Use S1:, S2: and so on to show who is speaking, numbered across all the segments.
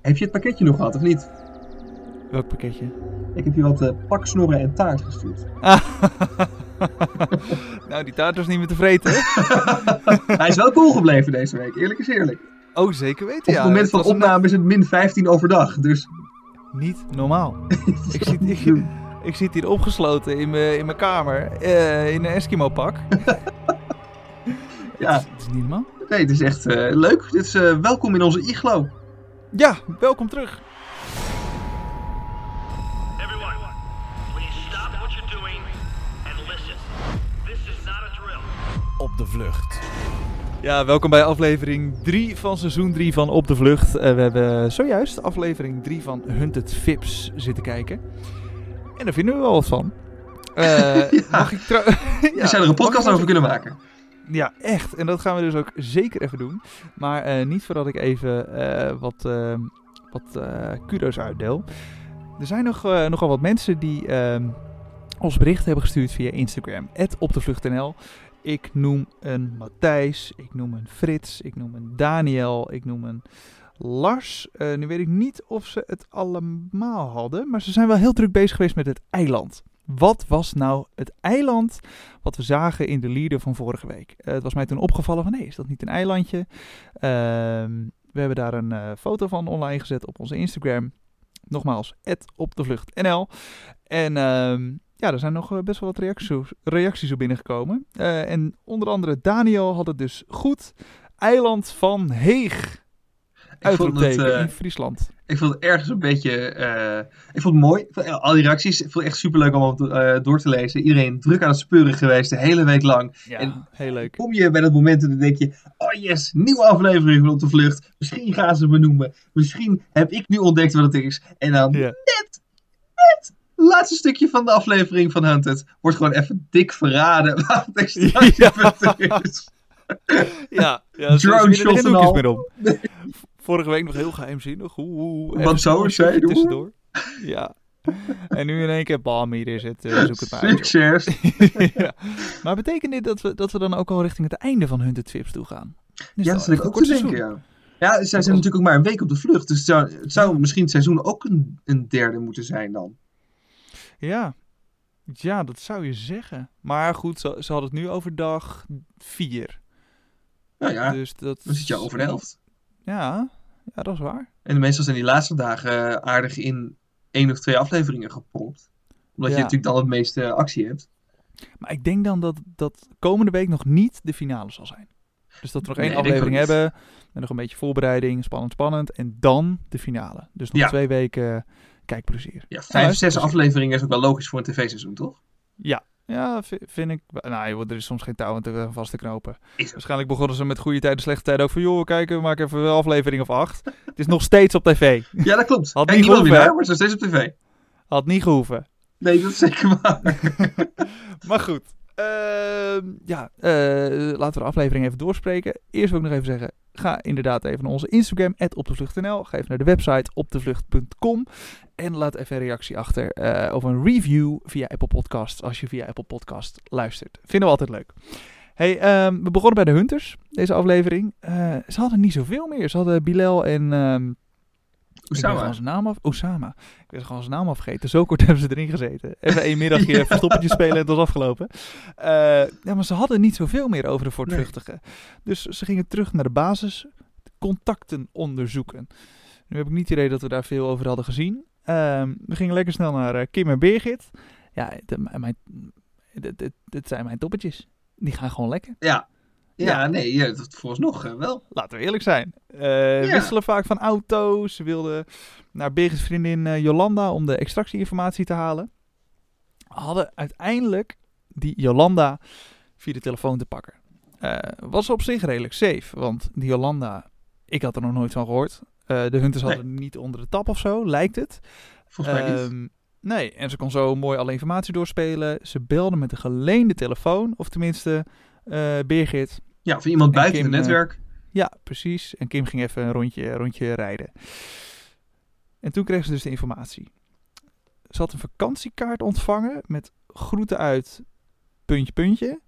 S1: Heb je het pakketje nog gehad, of niet?
S2: Welk pakketje?
S1: Ik heb je wat eh, paksnorren en taart gestuurd.
S2: nou, die taart was niet meer te vreten. hè?
S1: Hij is wel cool gebleven deze week, eerlijk is eerlijk. Op
S2: Oh, zeker weten,
S1: het
S2: ja.
S1: moment van
S2: was een-
S1: opname is het min 15 overdag, dus...
S2: Niet normaal. ik, zit, ik, ik zit hier opgesloten in mijn, in mijn kamer. eh, in een Eskimo-pak.
S1: Ja.
S2: Het is, het is niet normaal.
S1: Nee, het is echt eh, leuk. Dit is eh, welkom in onze iglo.
S2: Ja, welkom terug.
S3: Everyone, please stop what you're doing and listen. This is not a drill.
S4: Op de vlucht.
S2: Ja, welkom bij aflevering 3 van seizoen 3 van Op de Vlucht. Eh, we hebben zojuist aflevering 3 van Hunted Vips zitten kijken. En daar vinden we wel wat van. Eh, Mag ik trouw-
S1: We zouden er een podcast over kunnen maken.
S2: Ja, echt. En dat gaan we dus ook zeker even doen. Maar eh, niet voordat ik even eh, wat, eh, wat eh, kudo's uitdeel. Er zijn nog, eh, nogal wat mensen die ehm, ons bericht hebben gestuurd via Instagram. @opdevluchtnl. Ik noem een Matthijs, ik noem een Frits, ik noem een Daniel, ik noem een Lars. Eh, nu weet ik niet of ze het allemaal hadden, maar ze zijn wel heel druk bezig geweest met het eiland. Wat was nou het eiland wat we zagen in de leader van vorige week. Eh, het was mij toen opgevallen van, nee, is dat niet een eilandje? Ehm, we hebben daar een eh, foto van online gezet op onze Instagram. Nogmaals, @opdevluchtnl. En ehm, ja, er zijn nog eh, best wel wat reacties, reacties op binnengekomen. Eh, en onder andere Daniel had het dus goed. Eiland van Heeg,
S1: Ik vond, het,
S2: uitroepteken,
S1: eh,
S2: in Friesland.
S1: ik vond het ergens een beetje... eh, ik vond het mooi. Ik vond, eh, al die reacties, ik vond het echt superleuk om op de- eh, door te lezen. Iedereen druk aan het speuren geweest, de hele week lang.
S2: Ja,
S1: en-
S2: heel leuk.
S1: kom je bij dat moment en dan denk je: oh yes, nieuwe aflevering van Op de Vlucht. Misschien gaan ze me noemen. Misschien heb ik nu ontdekt wat het is. En dan
S2: Ja.
S1: net, net, laatste stukje van de aflevering van Hunted wordt gewoon even dik verraden waar het extractiepunt is.
S2: Ja, ja
S1: Drone
S2: drone
S1: shots
S2: shots
S1: en al.
S2: meer om. Vorige week nog heel geheimzinnig. Oeh, oeh,
S1: Wat
S2: ergens
S1: zou
S2: nog een
S1: zij
S2: stukje
S1: doen?
S2: Tussendoor. Ja. En nu in één keer, bam, hier is het. eh, zoek het maar uit, joh.
S1: Succes.
S2: ja. Maar betekent dit dat we, dat we dan ook al richting het einde van Hunted Trips toe gaan? Dan
S1: Ja,
S2: is het
S1: dat
S2: al
S1: zat ik
S2: echt
S1: ook
S2: een
S1: te
S2: kort
S1: denken.
S2: seizoen. Oh.
S1: Ja. Ja, zij zijn natuurlijk ook maar een week op de vlucht. Dus het zou, het zou misschien het seizoen ook een, een derde moeten zijn dan.
S2: Ja. ja, dat zou je zeggen. Maar goed, ze, ze hadden het nu over dag 4.
S1: Nou ja,
S2: dus dat
S1: dan zit je al over de helft.
S2: Ja, ja, dat is waar.
S1: En meestal zijn die laatste dagen eh, aardig in één of twee afleveringen gepropt. Omdat
S2: Ja.
S1: je natuurlijk dan het meeste actie hebt.
S2: Maar ik denk dan dat, dat komende week nog niet de finale zal zijn. Dus dat we nog één
S1: Nee, denk ik
S2: aflevering
S1: ook niet.
S2: hebben. En nog een beetje voorbereiding. Spannend, spannend. En dan de finale. Dus nog
S1: Ja.
S2: twee weken eh, kijkplezier.
S1: Ja,
S2: Ja,
S1: vijf,
S2: dat
S1: zes
S2: is precies.
S1: afleveringen is ook wel logisch voor een tv-seizoen, toch?
S2: Ja, ja vi- vind ik. wel- Nou, joh, er is soms geen touw aan te- eh, vast te knopen.
S1: Is ook-
S2: Waarschijnlijk begonnen ze met goede tijden, slechte tijden. Ook van, joh, kijk, we maken even een aflevering of acht. Het is nog steeds op tv.
S1: Ja, dat klopt.
S2: Had
S1: Kijk,
S2: niet
S1: niemand meer
S2: gehoeven,
S1: naar,
S2: hè?
S1: maar het is nog steeds op tv.
S2: Had niet gehoeven.
S1: Nee, dat is zeker waar.
S2: Maar goed. Ehm, ja, eh, laten we de aflevering even doorspreken. Eerst wil ik nog even zeggen, ga inderdaad even naar onze Instagram, opdevlucht.nl. Ga even naar de website opdevlucht.com. En laat even een reactie achter eh, of een review via Apple Podcasts, als je via Apple Podcast luistert. Vinden we altijd leuk. Hey, ehm, we begonnen bij de Hunters, deze aflevering. Eh, ze hadden niet zoveel meer. Ze hadden Bilal en... ehm, ik ben
S1: Oesama.
S2: gewoon zijn naam af. Osama. Ik ben gewoon zijn naam afgegeten. Zo kort hebben ze erin gezeten. Even één middagje verstoppertje spelen en het was afgelopen. Eh, ja, maar ze hadden niet zoveel meer over de voortvluchtigen. Dus ze gingen terug naar de basis. Contacten onderzoeken. Nu heb ik niet het idee dat we daar veel over hadden gezien. Ehm, we gingen lekker snel naar eh, Kim en Birgit. Ja, de- mijn- mijn, dit- dit- dit zijn mijn toppetjes. Die gaan gewoon lekker.
S1: Ja. Ja,
S2: Ja.
S1: nee, ja, dat vooralsnog eh, wel.
S2: Laten we eerlijk zijn. Eh,
S1: Ja.
S2: Wisselen vaak van auto's. Ze wilden naar Birgit's vriendin eh, Jolanda om de extractieinformatie te halen. Hadden uiteindelijk die Jolanda via de telefoon te pakken. Eh, was op zich redelijk safe, want die Jolanda, ik had er nog nooit van gehoord. Eh, de hunters hadden hem niet onder de tap of zo, lijkt het.
S1: Volgens mij niet.
S2: Ehm, nee, en ze kon zo mooi alle informatie doorspelen. Ze belde met een geleende telefoon, of tenminste eh Birgit.
S1: Ja, van iemand
S2: en
S1: buiten het
S2: Kim, eh,
S1: netwerk.
S2: Ja, precies. En Kim ging even een rondje, rondje rijden. En toen kreeg ze dus de informatie. Ze had een vakantiekaart ontvangen met groeten uit puntje, puntje.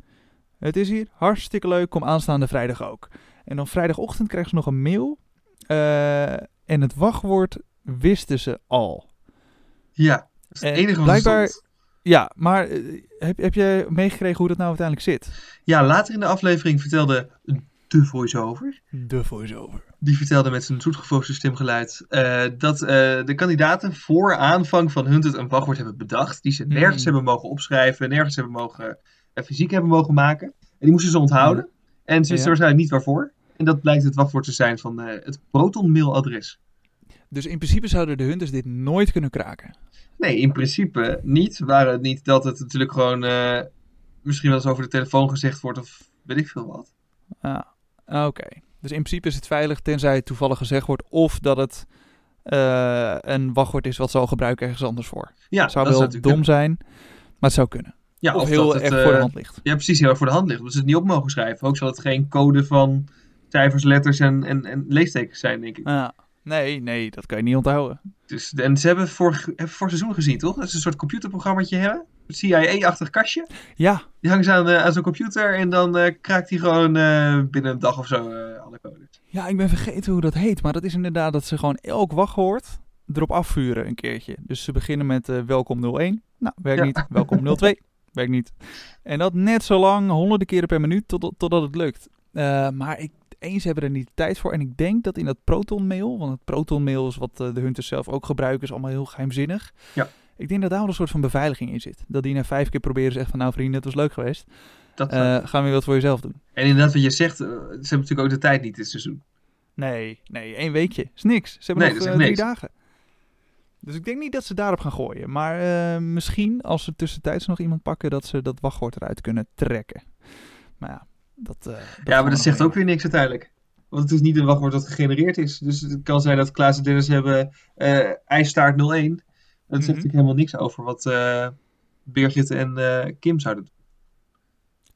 S2: Het is hier hartstikke leuk, kom aanstaande vrijdag ook. En dan vrijdagochtend kreeg ze nog een mail eh, En het wachtwoord wisten ze al.
S1: Ja, dat is het
S2: En
S1: enige wat
S2: eh, blijkbaar-
S1: blijkbaar...
S2: Ja, maar eh, heb, heb jij meegekregen hoe dat nou uiteindelijk zit?
S1: Ja, later in de aflevering vertelde de voice-over...
S2: De voice-over.
S1: Die vertelde met zijn zoetgevoegde stemgeluid eh, dat eh, de kandidaten voor aanvang van Hunted een wachtwoord hebben bedacht. Die ze
S2: Hmm.
S1: nergens hebben mogen opschrijven, nergens hebben mogen, eh, fysiek hebben mogen maken. En die moesten ze onthouden. En ze wisten
S2: Hmm. Ja.
S1: waarschijnlijk niet waarvoor. En dat blijkt het wachtwoord te zijn van eh, het protonmailadres.
S2: Dus in principe zouden de hunters dit nooit kunnen kraken.
S1: Nee, in principe niet. Waren het niet dat het natuurlijk gewoon eh, misschien wel eens over de telefoon gezegd wordt of weet ik veel wat.
S2: Ah, oké. Dus in principe is het veilig, tenzij het toevallig gezegd wordt of dat het eh, een wachtwoord is wat ze al gebruiken ergens anders voor.
S1: Ja,
S2: Het zou
S1: dat
S2: wel
S1: zou
S2: dom
S1: natuurlijk
S2: zijn, maar het zou kunnen.
S1: kunnen. Ja,
S2: of,
S1: of
S2: heel
S1: dat het,
S2: erg voor de
S1: eh,
S2: hand ligt.
S1: Ja, precies, heel erg voor de hand ligt. Omdat ze het niet op mogen schrijven. Ook zal het geen code van cijfers, letters en, en, en leestekens zijn, denk ik.
S2: Ah, nee, nee, dat kan je niet onthouden.
S1: Dus, en ze hebben vorig, hebben vorig seizoen gezien, toch? Dat ze een soort computerprogrammaatje hebben. Een CIA-achtig kastje.
S2: Ja,
S1: Die hangen ze aan, eh, aan zo'n computer en dan eh, kraakt hij gewoon eh, binnen een dag of zo eh, alle codes.
S2: ja, ik ben vergeten hoe dat heet, maar dat is inderdaad dat ze gewoon elk wachtwoord erop afvuren een keertje. Dus ze beginnen met eh, welkom 01. Nou, werkt
S1: Ja.
S2: niet. Welkom 02. werkt niet. En dat net zo lang, honderden keren per minuut, tot, totdat het lukt. Eh, maar ik, eens hebben er niet de tijd voor. En ik denk dat in dat protonmail, want het protonmail is wat eh, de hunters zelf ook gebruiken, is allemaal heel geheimzinnig.
S1: Ja.
S2: Ik denk dat daar wel een soort van beveiliging in zit. Dat die na vijf keer proberen zegt van nou vrienden, het was leuk geweest.
S1: Dat,
S2: Eh, gaan we weer wat voor jezelf doen.
S1: en inderdaad, wat je zegt, eh, ze hebben natuurlijk ook de tijd niet dus dit seizoen.
S2: Nee, nee, één weekje. Is niks. Ze hebben
S1: Nee,
S2: nog
S1: dat is
S2: eh,
S1: echt
S2: drie
S1: niks.
S2: dagen. Dus ik denk niet dat ze daarop gaan gooien. Maar eh, misschien als ze tussentijds nog iemand pakken, dat ze dat wachtwoord eruit kunnen trekken. Maar ja, dat. eh, dat gaan
S1: ja,
S2: we
S1: maar dat
S2: nog
S1: zegt ook
S2: meemaken.
S1: weer niks uiteindelijk. Want het is niet een wachtwoord dat gegenereerd is. Dus het kan zijn dat Klaas en Dennis hebben eh ijstaart 01. Dat zegt
S2: Mhm.
S1: natuurlijk helemaal niks over wat eh Birgit en eh, Kim zouden doen.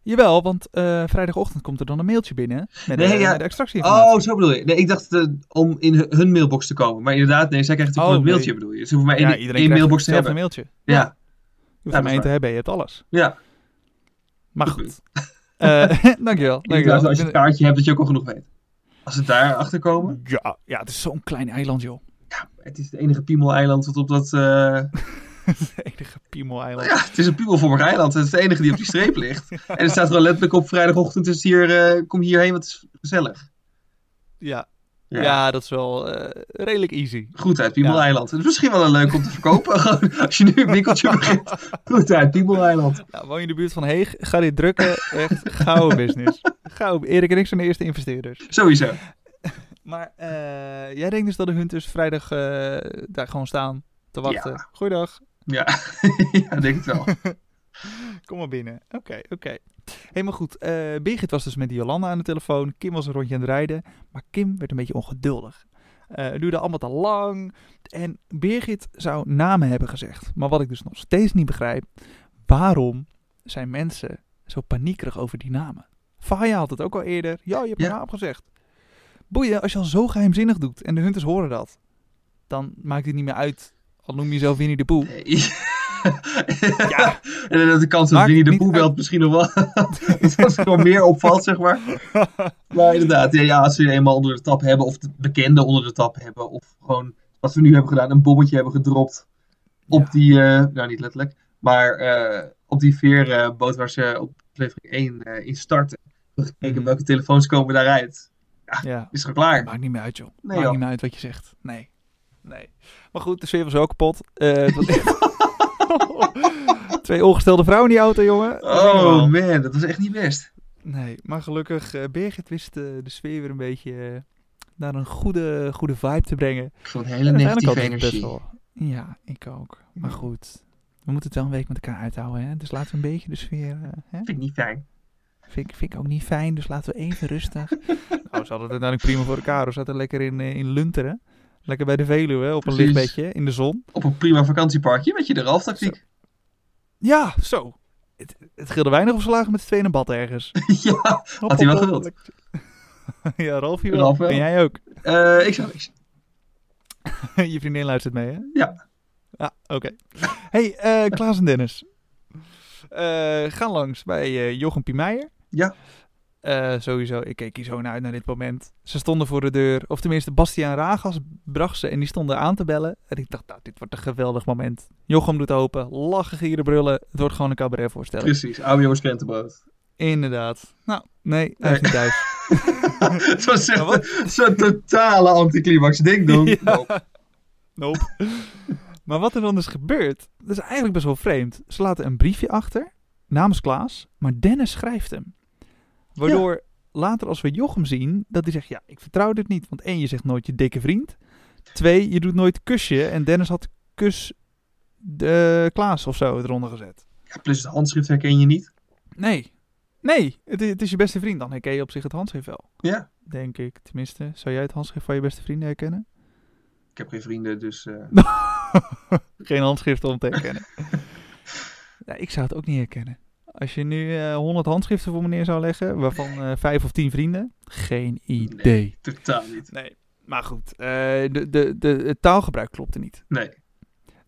S2: Jawel, want eh, vrijdagochtend komt er dan een mailtje binnen. Met,
S1: Nee,
S2: de,
S1: ja.
S2: met de extractieinformatie.
S1: Oh, zo bedoel je. Nee, ik dacht eh, om in hun- hun mailbox te komen. Maar inderdaad, nee, zij krijgen natuurlijk
S2: Oh,
S1: gewoon een mailtje
S2: nee.
S1: bedoel je. Ze hoeven maar
S2: ja,
S1: één,
S2: iedereen
S1: één
S2: krijgt
S1: mailbox te
S2: hetzelfde
S1: hebben.
S2: mailtje.
S1: Ja,
S2: Je hoeft
S1: Ja, dat
S2: maar
S1: is
S2: één
S1: waar.
S2: te hebben, je hebt alles.
S1: ja.
S2: Maar
S1: Goed
S2: goed. Eh dankjewel.
S1: Ik denk trouwens,
S2: dankjewel.
S1: als je een kaartje hebt, dat je ook al genoeg weet. Als ze daar achter komen.
S2: ja, ja, het is zo'n klein eiland, joh.
S1: Het is het enige piemel-eiland wat op dat... eh,
S2: Het enige piemel-eiland.
S1: Ja, het is een piemelvormig eiland. Het is het enige die op die streep ligt. En er staat gewoon letterlijk op vrijdagochtend is hier... eh, kom hierheen, want het is gezellig.
S2: Ja, Ja. dat is wel eh, redelijk easy.
S1: Goed uit Piemel-eiland. Het is misschien wel een leuk om te verkopen. Gewoon, als je nu een winkeltje begint. Goed uit Piemel-eiland.
S2: Nou, woon je in de buurt van Heeg, ga dit drukken. Echt gouden business. Gouden. Erik en ik zijn de eerste investeerders.
S1: Sowieso.
S2: Maar eh, jij denkt dus dat de hunters vrijdag eh, daar gewoon staan te wachten. Goeiedag,
S1: Ja, ja ik denk het wel.
S2: kom maar binnen. Oké, oké. Helemaal goed. Eh Birgit was dus met die Jolanda aan de telefoon. Kim was een rondje aan het rijden. Maar Kim werd een beetje ongeduldig. Eh, het duurde allemaal te lang. En Birgit zou namen hebben gezegd. Maar wat ik dus nog steeds niet begrijp. Waarom zijn mensen zo paniekerig over die namen? Faya had het ook al eerder. Ja, je hebt mijn
S1: Ja.
S2: naam gezegd. Boeien, als je al zo geheimzinnig doet en de hunters horen dat. Dan maakt het niet meer uit. Al noem je jezelf Winnie de Poe.
S1: Nee. ja. En dat de kans dat
S2: Maakt
S1: Winnie de
S2: niet
S1: Poe
S2: uit.
S1: belt misschien nog wel. dat het gewoon meer opvalt, zeg maar. Maar inderdaad, ja, ja, als ze je eenmaal onder de tap hebben, of de bekenden onder de tap hebben, of gewoon wat we nu hebben gedaan, een bommetje hebben gedropt op
S2: Ja.
S1: die, eh, nou niet letterlijk, maar eh, op die veerboot waar ze op aflevering 1 eh, in starten. We hebben gekeken
S2: Mhm.
S1: welke telefoons komen daaruit.
S2: Ja.
S1: Is gewoon klaar.
S2: Maakt niet meer uit, joh. Maakt
S1: joh.
S2: niet meer uit wat je zegt. Nee. Nee. Maar goed, de sfeer was ook kapot. Eh, het was echt- Twee ongestelde vrouwen in die auto, jongen. Dat is niet
S1: Oh
S2: normaal.
S1: man, dat was echt niet best.
S2: Nee, maar gelukkig, eh Birgit wist eh, de sfeer weer een beetje eh, naar een goede, goede vibe te brengen.
S1: Ik vond een hele
S2: En uiteindelijk
S1: negatieve
S2: had het best
S1: energie.
S2: wel. Ja, ik ook. Maar goed, we moeten het wel een week met elkaar uithouden, hè. Dus laten we een beetje de sfeer... eh, hè?
S1: Vind ik niet fijn.
S2: Vind, ik- vind ik ook niet fijn, dus laten we even rustig. nou, ze hadden het uiteindelijk prima voor elkaar. We zaten lekker in, eh, in Lunteren. Lekker bij de Veluwe, op een
S1: Precies.
S2: lichtbedje, in de zon.
S1: Op een prima vakantieparkje met je de Ralf-tactiek.
S2: Ja, zo. Het, het scheelde weinig of ze lagen met z'n tweeën in een bad ergens.
S1: ja, Had hij wel gewild.
S2: ja, Ralf hier wel.
S1: Ralf wel.
S2: En jij ook.
S1: eh, ik zou niks.
S2: Je vriendin luistert mee, hè?
S1: Ja.
S2: Ja, oké. hey, eh, Klaas en Dennis. Eh, gaan langs bij eh Jochem Piemeijer.
S1: Ja.
S2: eh, sowieso, ik keek hier zo naar uit naar dit moment. Ze stonden voor de deur. Of tenminste, Bastiaan Ragas bracht ze en die stonden aan te bellen. En ik dacht, nou, dit wordt een geweldig moment. Jochem doet open, lachen, gieren, brullen. Het wordt gewoon een cabaretvoorstelling.
S1: Precies, ABO's krentenbrood.
S2: Inderdaad. Nou, nee, hij is niet thuis.
S1: het was
S2: Ja,
S1: echt
S2: wat?
S1: zo'n totale anticlimax. Ding dong.
S2: Ja.
S1: Nope.
S2: Nope. maar wat er dan is gebeurd, dat is eigenlijk best wel vreemd. Ze laten een briefje achter, namens Klaas, maar Dennis schrijft hem. Waardoor later als we Jochem zien, dat hij zegt, ja, ik vertrouw dit niet. Want één, je zegt nooit je dikke vriend. Twee, je doet nooit kusje. En Dennis had kus de Klaas of zo eronder gezet.
S1: Ja, plus het handschrift herken je niet.
S2: Nee, nee, het, i- het is je beste vriend. Dan herken je op zich het handschrift wel,
S1: Ja,
S2: denk ik. Tenminste, zou jij het handschrift van je beste vrienden herkennen?
S1: ik heb geen vrienden, dus... eh,
S2: Geen handschriften om te herkennen. ja, ik zou het ook niet herkennen. Als je nu eh 100 handschriften voor me neer zou leggen, waarvan eh 5 of 10 vrienden, geen idee. Nee.
S1: totaal niet.
S2: Maar goed, eh, de, de, de, het taalgebruik klopte niet.
S1: Nee.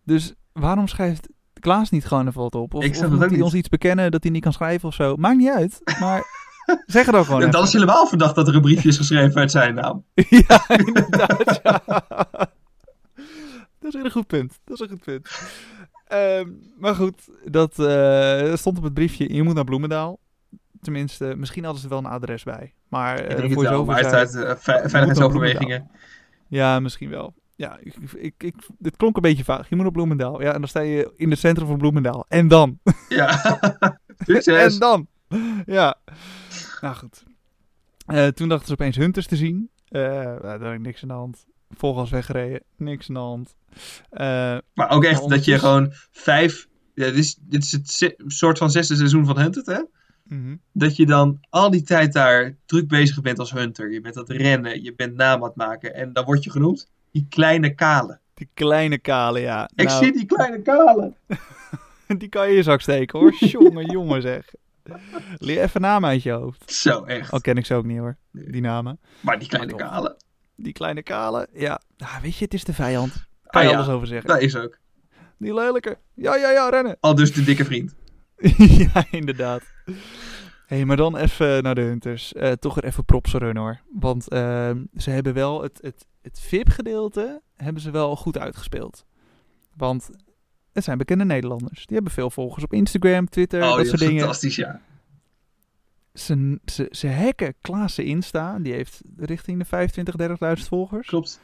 S2: Dus waarom schrijft Klaas niet gewoon even wat op? Of,
S1: Ik
S2: of
S1: snap het
S2: moet
S1: ook
S2: hij
S1: niet.
S2: ons iets bekennen dat hij niet kan schrijven of zo? Maakt niet uit, maar zeg het dan gewoon
S1: En
S2: even.
S1: dan is helemaal verdacht dat er een briefje is geschreven uit zijn naam.
S2: Eh, ja, inderdaad. ja. Dat is een goed punt. Dat is een goed punt. Ehm, maar goed, dat eh, stond op het briefje. Je moet naar Bloemendaal. Tenminste, misschien hadden ze wel een adres bij. Maar eh,
S1: ik
S2: de
S1: denk het wel,
S2: voice-over
S1: maar het is
S2: zei-
S1: uit eh, ve- veiligheidsoverwegingen.
S2: ja, misschien wel. Ja, ik, ik, ik, dit klonk een beetje vaag. Je moet naar Bloemendaal. Ja, en dan sta je in het centrum van Bloemendaal. En dan?
S1: Ja.
S2: en
S1: Succes.
S2: dan? Ja. Nou goed. Eh, toen dachten ze opeens Hunters te zien. Eh nou, daar had ik niks aan de hand. Volgens weggereden, niks aan de hand. Eh,
S1: Maar ook echt
S2: Maar
S1: dat je
S2: ondertussen-
S1: gewoon vijf... Ja, dit, is, dit is het se- soort van zesde seizoen van Hunted, hè?
S2: mhm.
S1: dat je dan al die tijd daar druk bezig bent als hunter. Je bent aan het rennen, je bent naam aan het maken. En dan word je genoemd die kleine kale.
S2: Die kleine kale, ja.
S1: Ik
S2: Nou,
S1: zie die kleine kale.
S2: Die kan je in je zak steken, hoor. Jongen, jongen zeg. Leer even namen uit je hoofd.
S1: Zo echt.
S2: Al ken ik ze ook Ah, niet, hoor.
S1: Nee.
S2: Die namen.
S1: Maar die kleine
S2: Maar toch.
S1: kale,
S2: Die kleine kale, ja. Ah, weet je, het is de vijand. Kan
S1: Ah,
S2: je
S1: ja.
S2: alles over zeggen.
S1: dat is ook.
S2: Die lelijke. Ja, ja, ja, rennen.
S1: Al dus de dikke vriend.
S2: ja, inderdaad. Hé, hey, maar dan even naar de Hunters. Eh, toch er even props runnen hoor. Want ehm, ze hebben wel het, het, het VIP-gedeelte hebben ze wel goed uitgespeeld. Want het zijn bekende Nederlanders. Die hebben veel volgers op Instagram, Twitter,
S1: oh,
S2: Eh, dat
S1: dat
S2: soort
S1: is
S2: dingen.
S1: fantastisch, ja.
S2: Ze, ze, ze hacken Klaassen Insta. Die heeft richting de 25, 30.000 volgers.
S1: Klopt.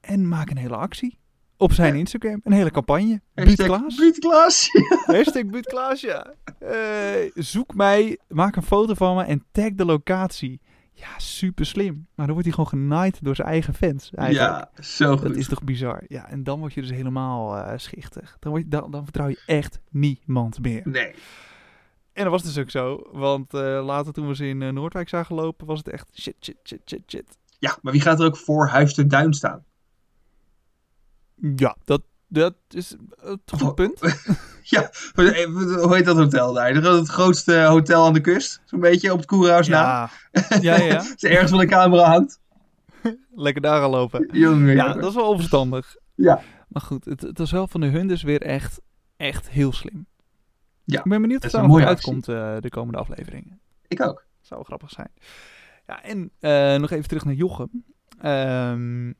S2: En maken een hele actie. Op zijn
S1: Ja.
S2: Instagram. Een hele campagne. Buut
S1: Hashtag
S2: Klaas.
S1: Buut Klaas.
S2: Hashtag Buutklaas, ja. Eh, zoek mij, maak een foto van me en tag de locatie. Ja, super slim. Maar dan wordt hij gewoon genaaid door zijn eigen fans. Eigenlijk.
S1: ja, zo
S2: dat
S1: goed.
S2: is toch bizar. Ja, en dan word je dus helemaal eh, schichtig. Dan, word je, dan, dan vertrouw je echt niemand meer.
S1: Nee.
S2: En dat was dus ook zo. Want eh, later toen we ze in eh, Noordwijk zagen lopen, was het echt shit, shit, shit, shit, shit.
S1: Ja, maar wie gaat er ook voor Huis ter Duin staan?
S2: Ja, dat, dat is een goed punt.
S1: Eh, Hoe heet dat hotel daar? Het grootste hotel aan de kust? Zo'n beetje op het koerhuis na.
S2: Ja, ja, ja.
S1: Als er ergens wel een camera hangt.
S2: Lekker daar gaan lopen.
S1: Jongen,
S2: Ja,
S1: jongen.
S2: dat is wel onverstandig.
S1: Ja.
S2: Maar goed, het, het was wel van de hun dus weer echt, echt heel slim.
S1: Ja,
S2: Ik ben benieuwd
S1: dat
S2: of
S1: is een
S2: daar nog
S1: mooie
S2: uitkomt eh, de komende afleveringen.
S1: Ik ook.
S2: Zou wel grappig zijn. Ja, en eh, nog even terug naar Jochem. Ehm,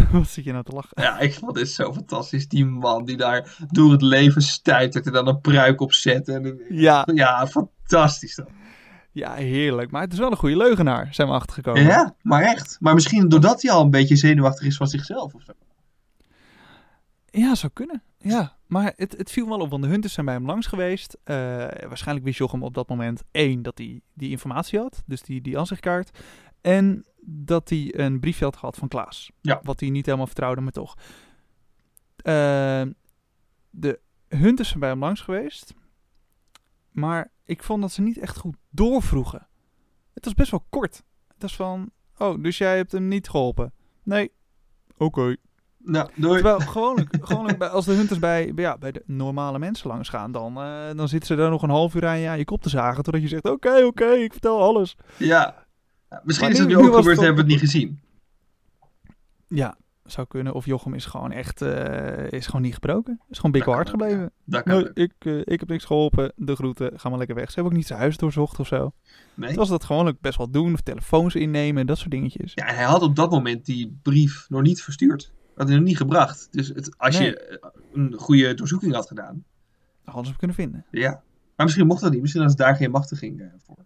S2: wat zit je nou te lachen?
S1: Ja, ik vond dit zo fantastisch. Die man die daar door het leven stuitert en dan een pruik op zet. En...
S2: Ja,
S1: Ja, fantastisch dat.
S2: ja, heerlijk. Maar het is wel een goede leugenaar, zijn we achtergekomen.
S1: Ja, maar echt. Maar misschien doordat hij al een beetje zenuwachtig is van zichzelf of zo.
S2: Ja, zou kunnen. Ja, maar het, het viel wel op, want de hunters zijn bij hem langs geweest. Eh, waarschijnlijk wist Jochem op dat moment één dat hij die informatie had, dus die, die aanzichtkaart. En dat hij een briefje had gehad van Klaas.
S1: Ja.
S2: Wat hij niet helemaal vertrouwde, maar toch. Eh, de hunters zijn bij hem langs geweest. Maar ik vond dat ze niet echt goed doorvroegen. Het was best wel kort. Het was van, oh, dus jij hebt hem niet geholpen? Nee. Oké.
S1: Nou, doei.
S2: Terwijl gewoonlijk, gewoonlijk bij, als de hunters bij, bij- ja, bij de normale mensen langs gaan, dan, eh, dan zitten ze daar nog een half uur aan je, aan je kop te zagen. Totdat je zegt, oké, oké, ik vertel alles.
S1: Ja. Ja, Misschien
S2: Maar
S1: is het
S2: nu-
S1: nu
S2: nu
S1: ook
S2: was het
S1: gebeurd, hebben we het niet gezien.
S2: Ja, zou kunnen. Of Jochem is gewoon echt, eh, is gewoon niet gebroken. Is gewoon bikkelhard
S1: Dat kan ook,
S2: gebleven.
S1: Daar kan
S2: Nee,
S1: ik.
S2: ik, eh, ik heb niks geholpen. De groeten, ga maar lekker weg. Ze hebben ook niet zijn huis doorzocht of zo.
S1: Nee.
S2: Terwijl ze dat gewoonlijk best wel doen. Of telefoons innemen en dat soort dingetjes.
S1: Ja, en hij had op dat moment die brief nog niet verstuurd. Had hij nog niet gebracht. Dus het, als
S2: Nee.
S1: je eh, een goede doorzoeking had gedaan.
S2: Hadden ze hem kunnen vinden.
S1: Ja. Maar misschien mocht dat niet. Misschien was daar geen machtiging eh, voor.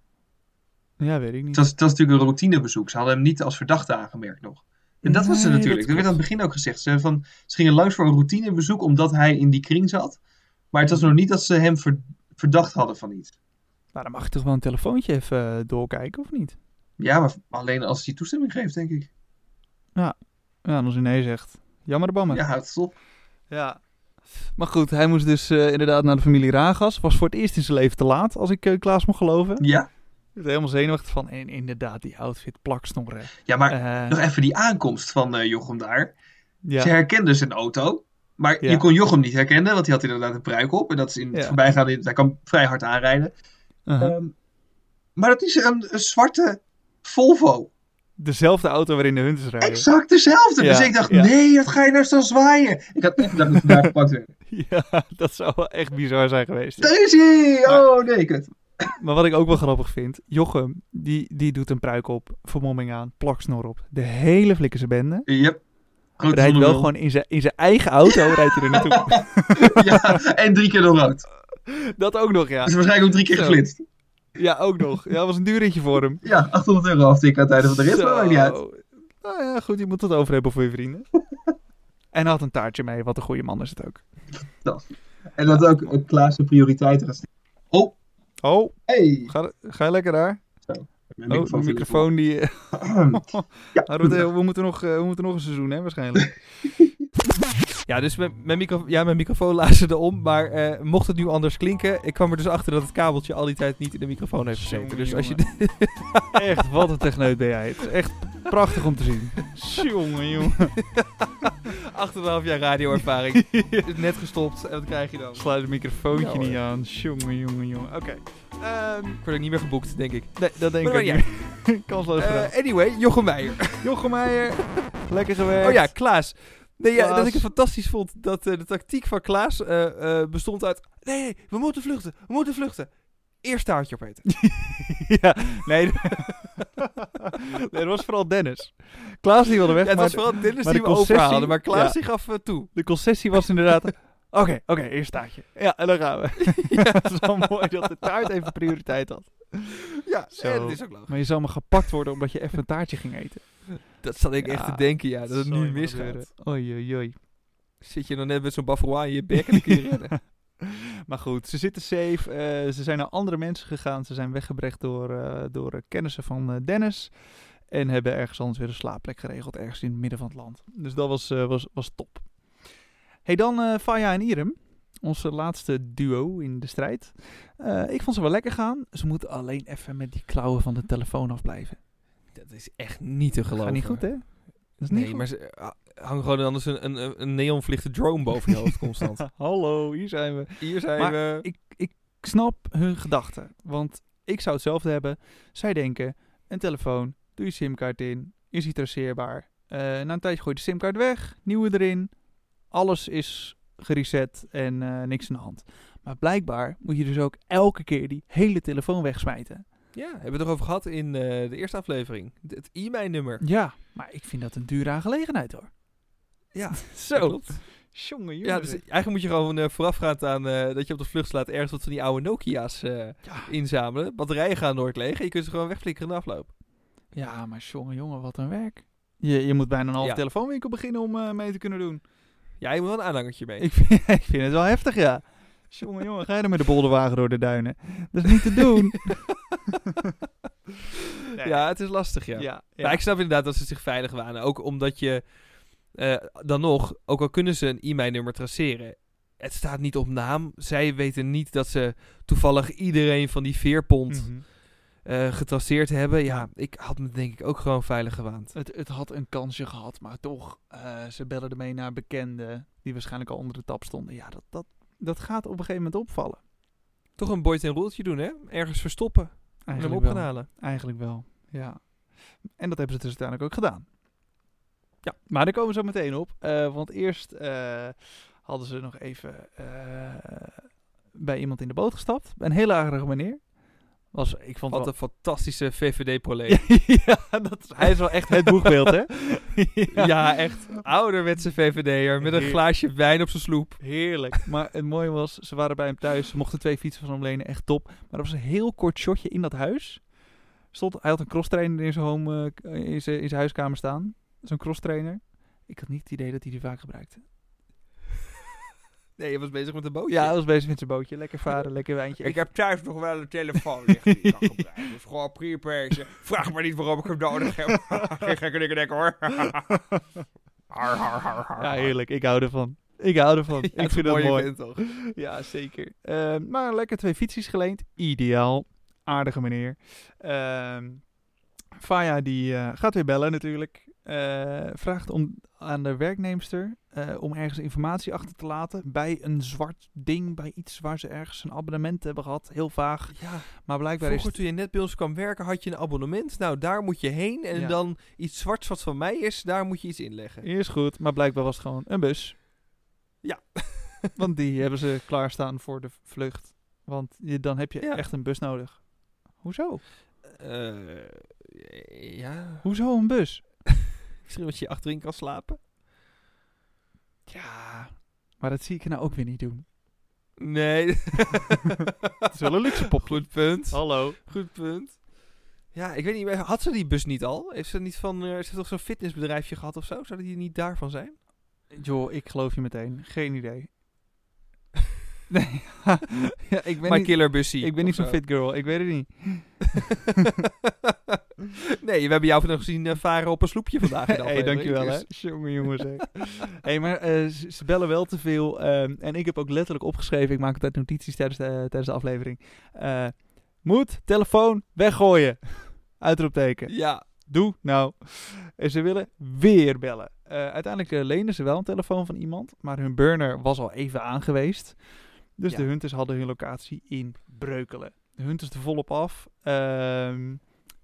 S2: Ja, weet ik niet.
S1: Het was, het was natuurlijk een routinebezoek. Ze hadden hem niet als verdachte aangemerkt nog. En dat was ze
S2: Nee,
S1: natuurlijk.
S2: dat
S1: Dat werd aan het begin ook gezegd. Ze, van, ze gingen langs voor een routinebezoek omdat hij in die kring zat. Maar het was nog niet dat ze hem ver- verdacht hadden van iets.
S2: Nou, dan mag je toch wel een telefoontje even eh, doorkijken, of niet?
S1: Ja, maar alleen als hij toestemming geeft, denk ik.
S2: Ja, en als hij nee zegt. Jammer de bammer.
S1: Ja, houd het op.
S2: Ja. Maar goed, hij moest dus eh, inderdaad naar de familie Ragas. Was voor het eerst in zijn leven te laat, als ik eh, Klaas mag geloven. Ik
S1: Ja,
S2: werd er helemaal zenuwachtig van. En inderdaad, die outfit plaksnorren.
S1: ja maar
S2: Eh,
S1: nog even die aankomst van eh, Jochem daar.
S2: ja.
S1: Ze herkende zijn auto. Maar
S2: Ja.
S1: je kon Jochem niet herkennen, want hij had inderdaad een pruik op. En dat is in het
S2: Ja.
S1: voorbijgaan, in- hij kan vrij hard aanrijden.
S2: Aha.
S1: Ehm, maar dat is een, een zwarte Volvo.
S2: Dezelfde auto waarin de hunters rijden.
S1: Exact dezelfde.
S2: Ja,
S1: dus ik dacht,
S2: ja.
S1: nee, dat ga je nou zo zwaaien. Ik had echt gedacht dat we daar gepakt werden.
S2: Ja, dat zou wel echt bizar zijn geweest.
S1: Daar is hij! Oh, nee, kut.
S2: Maar wat ik ook wel grappig vind, Jochem, die, die doet een pruik op, vermomming aan, plaksnor op. De hele flikkerse bende.
S1: Yep. Grote
S2: Rijdt wel
S1: zonnebril.
S2: gewoon in zijn, in zijn eigen auto, rijdt hij er naartoe.
S1: Ja, en drie keer door rood.
S2: Dat ook nog, ja.
S1: Dus waarschijnlijk ook drie keer
S2: Zo.
S1: geflitst.
S2: Ja, ook nog. Ja, was een duurritje voor hem.
S1: Ja, 800 euro aftikken aan het einde van de rit. Maar maakt niet uit.
S2: Zo. Nou ja, goed, je moet het over hebben voor je vrienden. en hij had een taartje mee, wat een goede man is het ook.
S1: En dat ook eh, Klaas de prioriteiten gaat stellen. Oh,
S2: Oh,
S1: hey.
S2: ga, ga je lekker daar?
S1: Mijn
S2: Oh, de
S1: viel
S2: microfoon die...
S1: ervan. ja,
S2: Hadden we, het- we, moeten nog, eh, we moeten nog een seizoen, hè, waarschijnlijk. ja, dus mijn, mijn, micro, ja, mijn microfoon luisterde om, maar eh, mocht het nu anders klinken, ik kwam er dus achter dat het kabeltje al die tijd niet in de microfoon heeft gezeten.
S4: Jongen,
S2: Dus als je... echt, wat een techneut ben jij. Het is echt prachtig om te zien.
S4: Jongen, jongen. 8,5 jaar radioervaring. Is net gestopt en wat krijg je dan?
S2: Sluit het microfoontje
S4: Ja, hoor.
S2: niet aan. Jongen, jongen, jongen. Oké. Ehm,
S4: Ik word ook niet meer geboekt, denk ik.
S2: nee, dat denk ik
S4: Maar
S2: ook
S4: ja.
S2: niet. Kansloos
S4: Eh,
S2: gedaan.
S4: anyway, Jochem Meijer.
S2: Jochem Meijer, lekker gewerkt.
S4: Oh ja, Klaas. Nee, ja,
S2: Klaas.
S4: dat ik het fantastisch vond dat eh, de tactiek van Klaas eh, eh, bestond uit... Nee, nee, we moeten vluchten. We moeten vluchten. Eerst taartje opeten.
S2: ja, nee. nee, dat was vooral Dennis. Klaas die wilde weg,
S4: Ja, het
S2: maar
S4: was vooral Dennis
S2: maar
S4: die
S2: de
S4: we
S2: concessie-
S4: overhaalde, maar Klaas
S2: ja.
S4: die gaf eh, toe.
S2: de concessie was inderdaad... Oké, oké, eerst taartje. Ja, en dan gaan we. het is wel mooi dat de taart even prioriteit had.
S4: Ja,
S2: Zo.
S4: en dat is ook logisch.
S2: Maar je zou maar gepakt worden omdat je even een taartje ging eten.
S4: Dat zat ik
S2: Ja,
S4: echt te denken, ja, dat het nu misgaat.
S2: Oei, oei, oei.
S4: Zit je dan net met zo'n bavarois in je bek en dan kun je redden.
S2: Maar goed, ze zitten safe. eh, ze zijn naar andere mensen gegaan. Ze zijn weggebracht door, eh, door eh, kennissen van eh, Dennis. En hebben ergens anders weer een slaapplek geregeld. Ergens in het midden van het land. Dus dat was, eh, was, was top. hey, dan eh Faya en Irem. Onze laatste duo in de strijd. Eh, ik vond ze wel lekker gaan. Ze moeten alleen even met die klauwen van de telefoon afblijven.
S4: Dat is echt niet te
S2: Dat
S4: geloven.
S2: gaat niet goed, hè? Dat is
S4: nee,
S2: niet goed.
S4: maar ze eh, hang gewoon anders een, een, een neonvliegde drone boven je hoofd constant.
S2: Hallo, hier zijn we.
S4: Hier zijn
S2: Maar
S4: we.
S2: ik, ik snap hun gedachten. Want ik zou hetzelfde hebben. Zij denken, een telefoon, doe je simkaart in, is die traceerbaar. Eh, na een tijdje gooi je de simkaart weg, nieuwe erin. Alles is gereset en eh, niks aan de hand. Maar blijkbaar moet je dus ook elke keer die hele telefoon wegsmijten.
S4: Ja, hebben we het erover gehad in eh, de eerste aflevering. D- Het e-mail-nummer.
S2: Ja, maar ik vind dat een dure aangelegenheid hoor.
S4: Ja, dat
S2: zo.
S4: klopt.
S2: Jongen,
S4: Ja, dus eigenlijk moet je gewoon eh, voorafgaand aan eh, dat je op de vlucht slaat ergens wat van die oude Nokia's eh,
S2: Ja.
S4: inzamelen. Batterijen gaan nooit leeg en je kunt ze gewoon wegflikkeren in de afloop.
S2: ja, maar jongen, jongen, wat een werk. Je, je moet bijna een halve
S4: Ja.
S2: telefoonwinkel beginnen om eh, mee te kunnen doen.
S4: Ja, je moet wel een aanhangertje mee.
S2: Ik vind, ik vind het wel heftig, ja. Jongen, jongen, ga je dan met de bolderwagen door de duinen? Dat is niet te doen. Nee.
S4: Ja, het is lastig, ja.
S2: ja.
S4: Maar ik snap inderdaad dat ze zich veilig wanen. Ook omdat je eh, dan nog, ook al kunnen ze een e-mailnummer traceren, het staat niet op naam. Zij weten niet dat ze toevallig iedereen van die veerpont
S2: Mhm.
S4: eh, getraceerd hebben. Ja, ik had me denk ik ook gewoon veilig gewaand.
S2: het, het had een kansje gehad, maar toch, eh, ze bellen ermee naar bekenden die waarschijnlijk al onder de tap stonden. Ja, dat, dat, dat gaat op een gegeven moment opvallen.
S4: Toch een boys en roeltje doen, hè? Ergens verstoppen en hem op gaan
S2: wel.
S4: halen.
S2: Eigenlijk wel, ja. En dat hebben ze dus uiteindelijk ook gedaan.
S4: Ja.
S2: Maar daar komen we zo meteen op, eh, want eerst eh, hadden ze nog even eh, bij iemand in de boot gestapt. Een hele aardige meneer. Was, ik vond
S4: Wat een
S2: het
S4: fantastische VVD-proleet.
S2: wel... ja, dat is, hij is wel echt het boegbeeld, hè?
S4: Ja. echt. Ouderwetse VVD'er met een
S2: Heer-
S4: glaasje wijn op zijn sloep.
S2: Heerlijk. Maar het mooie was, ze waren bij hem thuis. Ze mochten twee fietsen van hem lenen. Echt top. Maar er was een heel kort shotje in dat huis. Stond, hij had een crosstrainer in zijn, home, eh, in zijn, in zijn huiskamer staan. Zo'n crosstrainer. Ik had niet het idee dat hij die vaak gebruikte.
S4: Nee, je was bezig met een bootje.
S2: Ja, hij was bezig met zijn bootje. Lekker varen, lekker wijntje.
S5: Ik heb thuis nog wel een telefoon liggen die ik kan gebruiken. Dus gewoon prepazen. Vraag maar niet waarom ik hem nodig heb. Geen gekke dingen denken hoor. Har, har, har, har.
S2: Ja, heerlijk. Ik hou ervan. Ik hou ervan.
S4: Ja,
S2: ik
S4: is een
S2: vind dat
S4: mooi
S2: mooi.
S4: event, toch?
S2: Ja, zeker. Eh, maar lekker twee fietsjes geleend. Ideaal. Aardige meneer. Ehm Faya die eh, gaat weer bellen natuurlijk. Eh, vraagt om, aan de werknemster eh, om ergens informatie achter te laten. Bij een zwart ding, bij iets waar ze ergens een abonnement hebben gehad. Heel vaag.
S4: Ja,
S2: Maar blijkbaar is
S4: vroeger
S2: het...
S4: toen je net bij ons kwam werken had je een abonnement. Nou, daar moet je heen. En
S2: Ja.
S4: dan iets zwarts wat van mij is, daar moet je iets inleggen.
S2: Eerst goed, maar blijkbaar was het gewoon een bus.
S4: Ja.
S2: Want die hebben ze klaarstaan voor de vlucht. Want je, dan heb je
S4: Ja.
S2: echt een bus nodig. Hoezo?
S4: Eh, ja,
S2: Hoezo een bus?
S4: misschien dat je achterin kan slapen.
S2: Ja, maar dat zie ik nou ook weer niet doen.
S4: Nee.
S2: Het is wel een luxe pop.
S4: Goed punt.
S2: Hallo.
S4: Goed punt. Ja, ik weet niet, meer, had ze die bus niet al? Heeft ze niet van, eh, is ze toch zo'n fitnessbedrijfje gehad of zo? Zou die niet daarvan zijn?
S2: Joh, ik geloof je meteen. Geen idee. Nee, ja, ik ben
S4: My
S2: niet,
S4: killer bussie.
S2: ik ben niet
S4: of
S2: zo'n fit girl. Ik weet het niet.
S4: nee, we hebben jou nog gezien eh, varen op een sloepje vandaag. in de
S2: hey,
S4: aflevering,
S2: dankjewel hè.
S4: dus-
S2: Jongen, jongens. hè. hey, maar eh, ze ze bellen wel te veel. ehm, en ik heb ook letterlijk opgeschreven. Ik maak altijd notities tijdens de, tijdens de aflevering. Eh, moet telefoon weggooien. Uitroepteken.
S4: Ja,
S2: Doe nou. En ze willen weer bellen. Eh, uiteindelijk eh, leenden ze wel een telefoon van iemand, maar hun burner was al even aangeweest. Dus
S4: Ja.
S2: de hunters hadden hun locatie in Breukelen. De hunters er volop af. Ehm,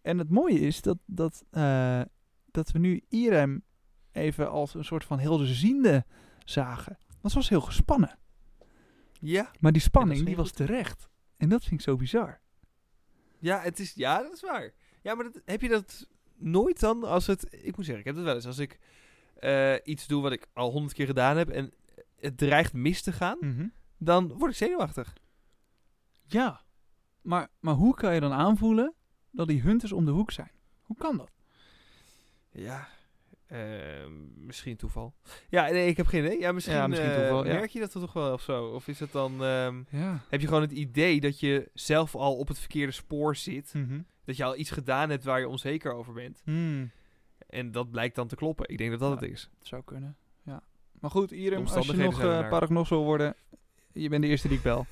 S2: en het mooie is dat, dat, eh, dat we nu Irem even als een soort van helderziende zagen. Want ze was heel gespannen.
S4: ja,
S2: Maar die
S4: Ja,
S2: spanning
S4: dat
S2: die
S4: is heel
S2: was terecht. En dat vind ik zo bizar.
S4: ja, het is, ja, dat is waar. Ja, maar dat, heb je dat nooit dan als het... Ik moet zeggen, ik heb dat wel eens. Als ik eh, iets doe wat ik al honderd keer gedaan heb en het dreigt mis te gaan, dan word ik zenuwachtig.
S2: Ja, maar, maar hoe kan je dan aanvoelen dat die hunters om de hoek zijn? Hoe kan dat?
S4: Ja, eh, misschien toeval. Ja, nee, ik heb geen idee. Ja, misschien,
S2: Ja, misschien
S4: eh,
S2: toeval, ja.
S4: Merk je dat dan toch wel of zo? Of is het dan... ehm,
S2: Ja.
S4: heb je gewoon het idee dat je zelf al op het verkeerde spoor zit?
S2: Mhm.
S4: Dat je al iets gedaan hebt waar je onzeker over bent? En dat blijkt dan te kloppen. Ik denk dat dat
S2: Ja.
S4: het is.
S2: zou kunnen, ja. Maar goed, Irem, als je
S4: Omstandigheden
S2: nog
S4: zijn
S2: eh
S4: ernaar.
S2: paragnos wil worden, je bent de eerste die ik bel.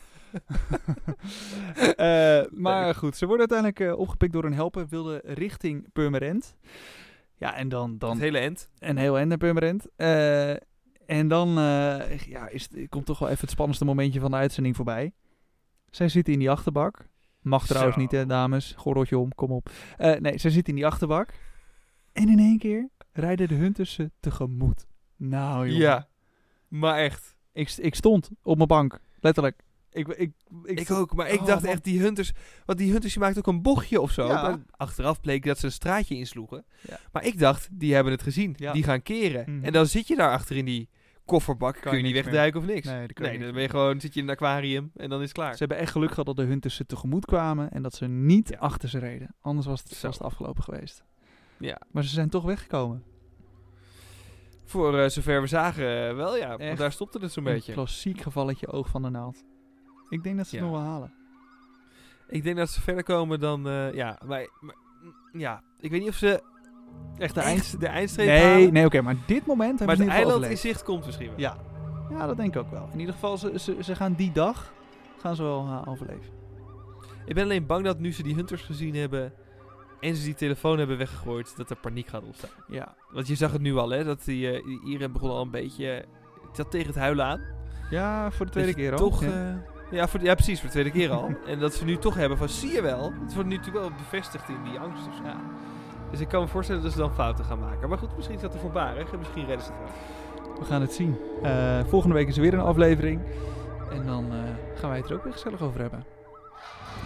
S2: Eh, maar
S4: Leuk.
S2: goed, ze worden uiteindelijk eh, opgepikt door een helper, wilden richting Purmerend. Ja, en dan, dan
S4: Het hele end.
S2: een heel eind naar Purmerend. Eh, en dan eh, ja, is, het- komt toch wel even het spannendste momentje van de uitzending voorbij. Zij zitten in die achterbak. Mag trouwens
S4: Zo.
S2: niet, hè, dames. Gordeltje om, kom op. Eh, nee, zij zitten in die achterbak. En in één keer rijden de hunters ze tegemoet. Nou, jongen.
S4: ja, maar echt.
S2: Ik, st- ik stond op mijn bank. Letterlijk. Ik, ik, ik,
S4: Ik ook, maar ik
S2: Oh,
S4: dacht
S2: man.
S4: echt, die hunters... Want die hunters, die maakten ook een bochtje of zo.
S2: Ja.
S4: Maar Achteraf bleek dat ze een straatje insloegen.
S2: Ja.
S4: Maar ik dacht, die hebben het gezien.
S2: Ja.
S4: Die gaan keren.
S2: Mhm.
S4: En dan zit je daar achter in die kofferbak.
S2: je
S4: kun je niet
S2: niks
S4: wegduiken of niks.
S2: Nee, dat kan je niks
S4: dan ben je gewoon, zit je in een aquarium en dan is het klaar.
S2: Ze hebben echt geluk gehad dat de hunters ze tegemoet kwamen. En dat ze niet
S4: Ja.
S2: achter ze reden. Anders was het,
S4: Zo.
S2: was het afgelopen geweest.
S4: Ja.
S2: Maar ze zijn toch weggekomen.
S4: Voor eh, zover we zagen eh, wel, ja.
S2: Echt?
S4: Want daar stopte het zo'n
S2: Een
S4: beetje.
S2: klassiek gevalletje oog van de naald. Ik denk dat ze het
S4: Ja.
S2: nog wel halen.
S4: Ik denk dat ze verder komen dan... eh, ja, maar, maar- mm, Ja, ik weet niet of ze
S2: Echt
S4: de,
S2: eind.
S4: eind, de eindstreep halen.
S2: Nee, nee oké, maar dit moment hebben
S4: maar het
S2: ze in ieder
S4: eiland
S2: geval
S4: in zicht komt misschien wel.
S2: Ja. overleefd. Ja, dat denk ik ook wel. In ieder geval, ze, ze, ze gaan die dag gaan ze wel eh, overleven.
S4: Ik ben alleen bang dat nu ze die hunters gezien hebben... en ze die telefoon hebben weggegooid... dat er paniek gaat ontstaan.
S2: Ja.
S4: Want je zag het nu al, hè? Dat die, eh, die Ieren begon al een beetje... eh, het zat tegen het huilen aan.
S2: Ja, voor de tweede
S4: Dat je
S2: keer al.
S4: Toch,
S2: Ja.
S4: eh, ja, voor, ja, precies, voor de tweede keer al. en dat ze nu toch hebben van, zie je wel, het wordt nu natuurlijk wel bevestigd in die angst of zo. Dus ik kan me voorstellen dat ze dan fouten gaan maken. Maar goed, misschien is dat te voorbarig en misschien redden ze het wel.
S2: We gaan het zien. Eh, volgende week is er weer een aflevering. En dan eh, gaan wij het er ook weer gezellig over hebben.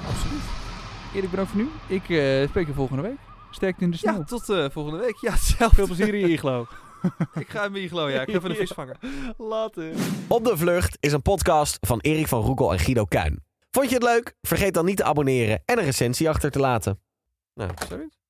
S2: Absoluut. Erik, bedankt voor nu. Ik eh, spreek je volgende week. Sterkte in de sneeuw.
S4: Ja, tot eh, volgende week. Ja, hetzelfde.
S2: Veel plezier in je iglo.
S4: Ik ga hem geloof ja. Ik ga van de vis vangen.
S2: Later.
S6: Op de Vlucht is een podcast van Erik van Roekel en Guido Kuin. Vond je het leuk? Vergeet dan niet te abonneren en een recensie achter te laten. Nou, zoiets.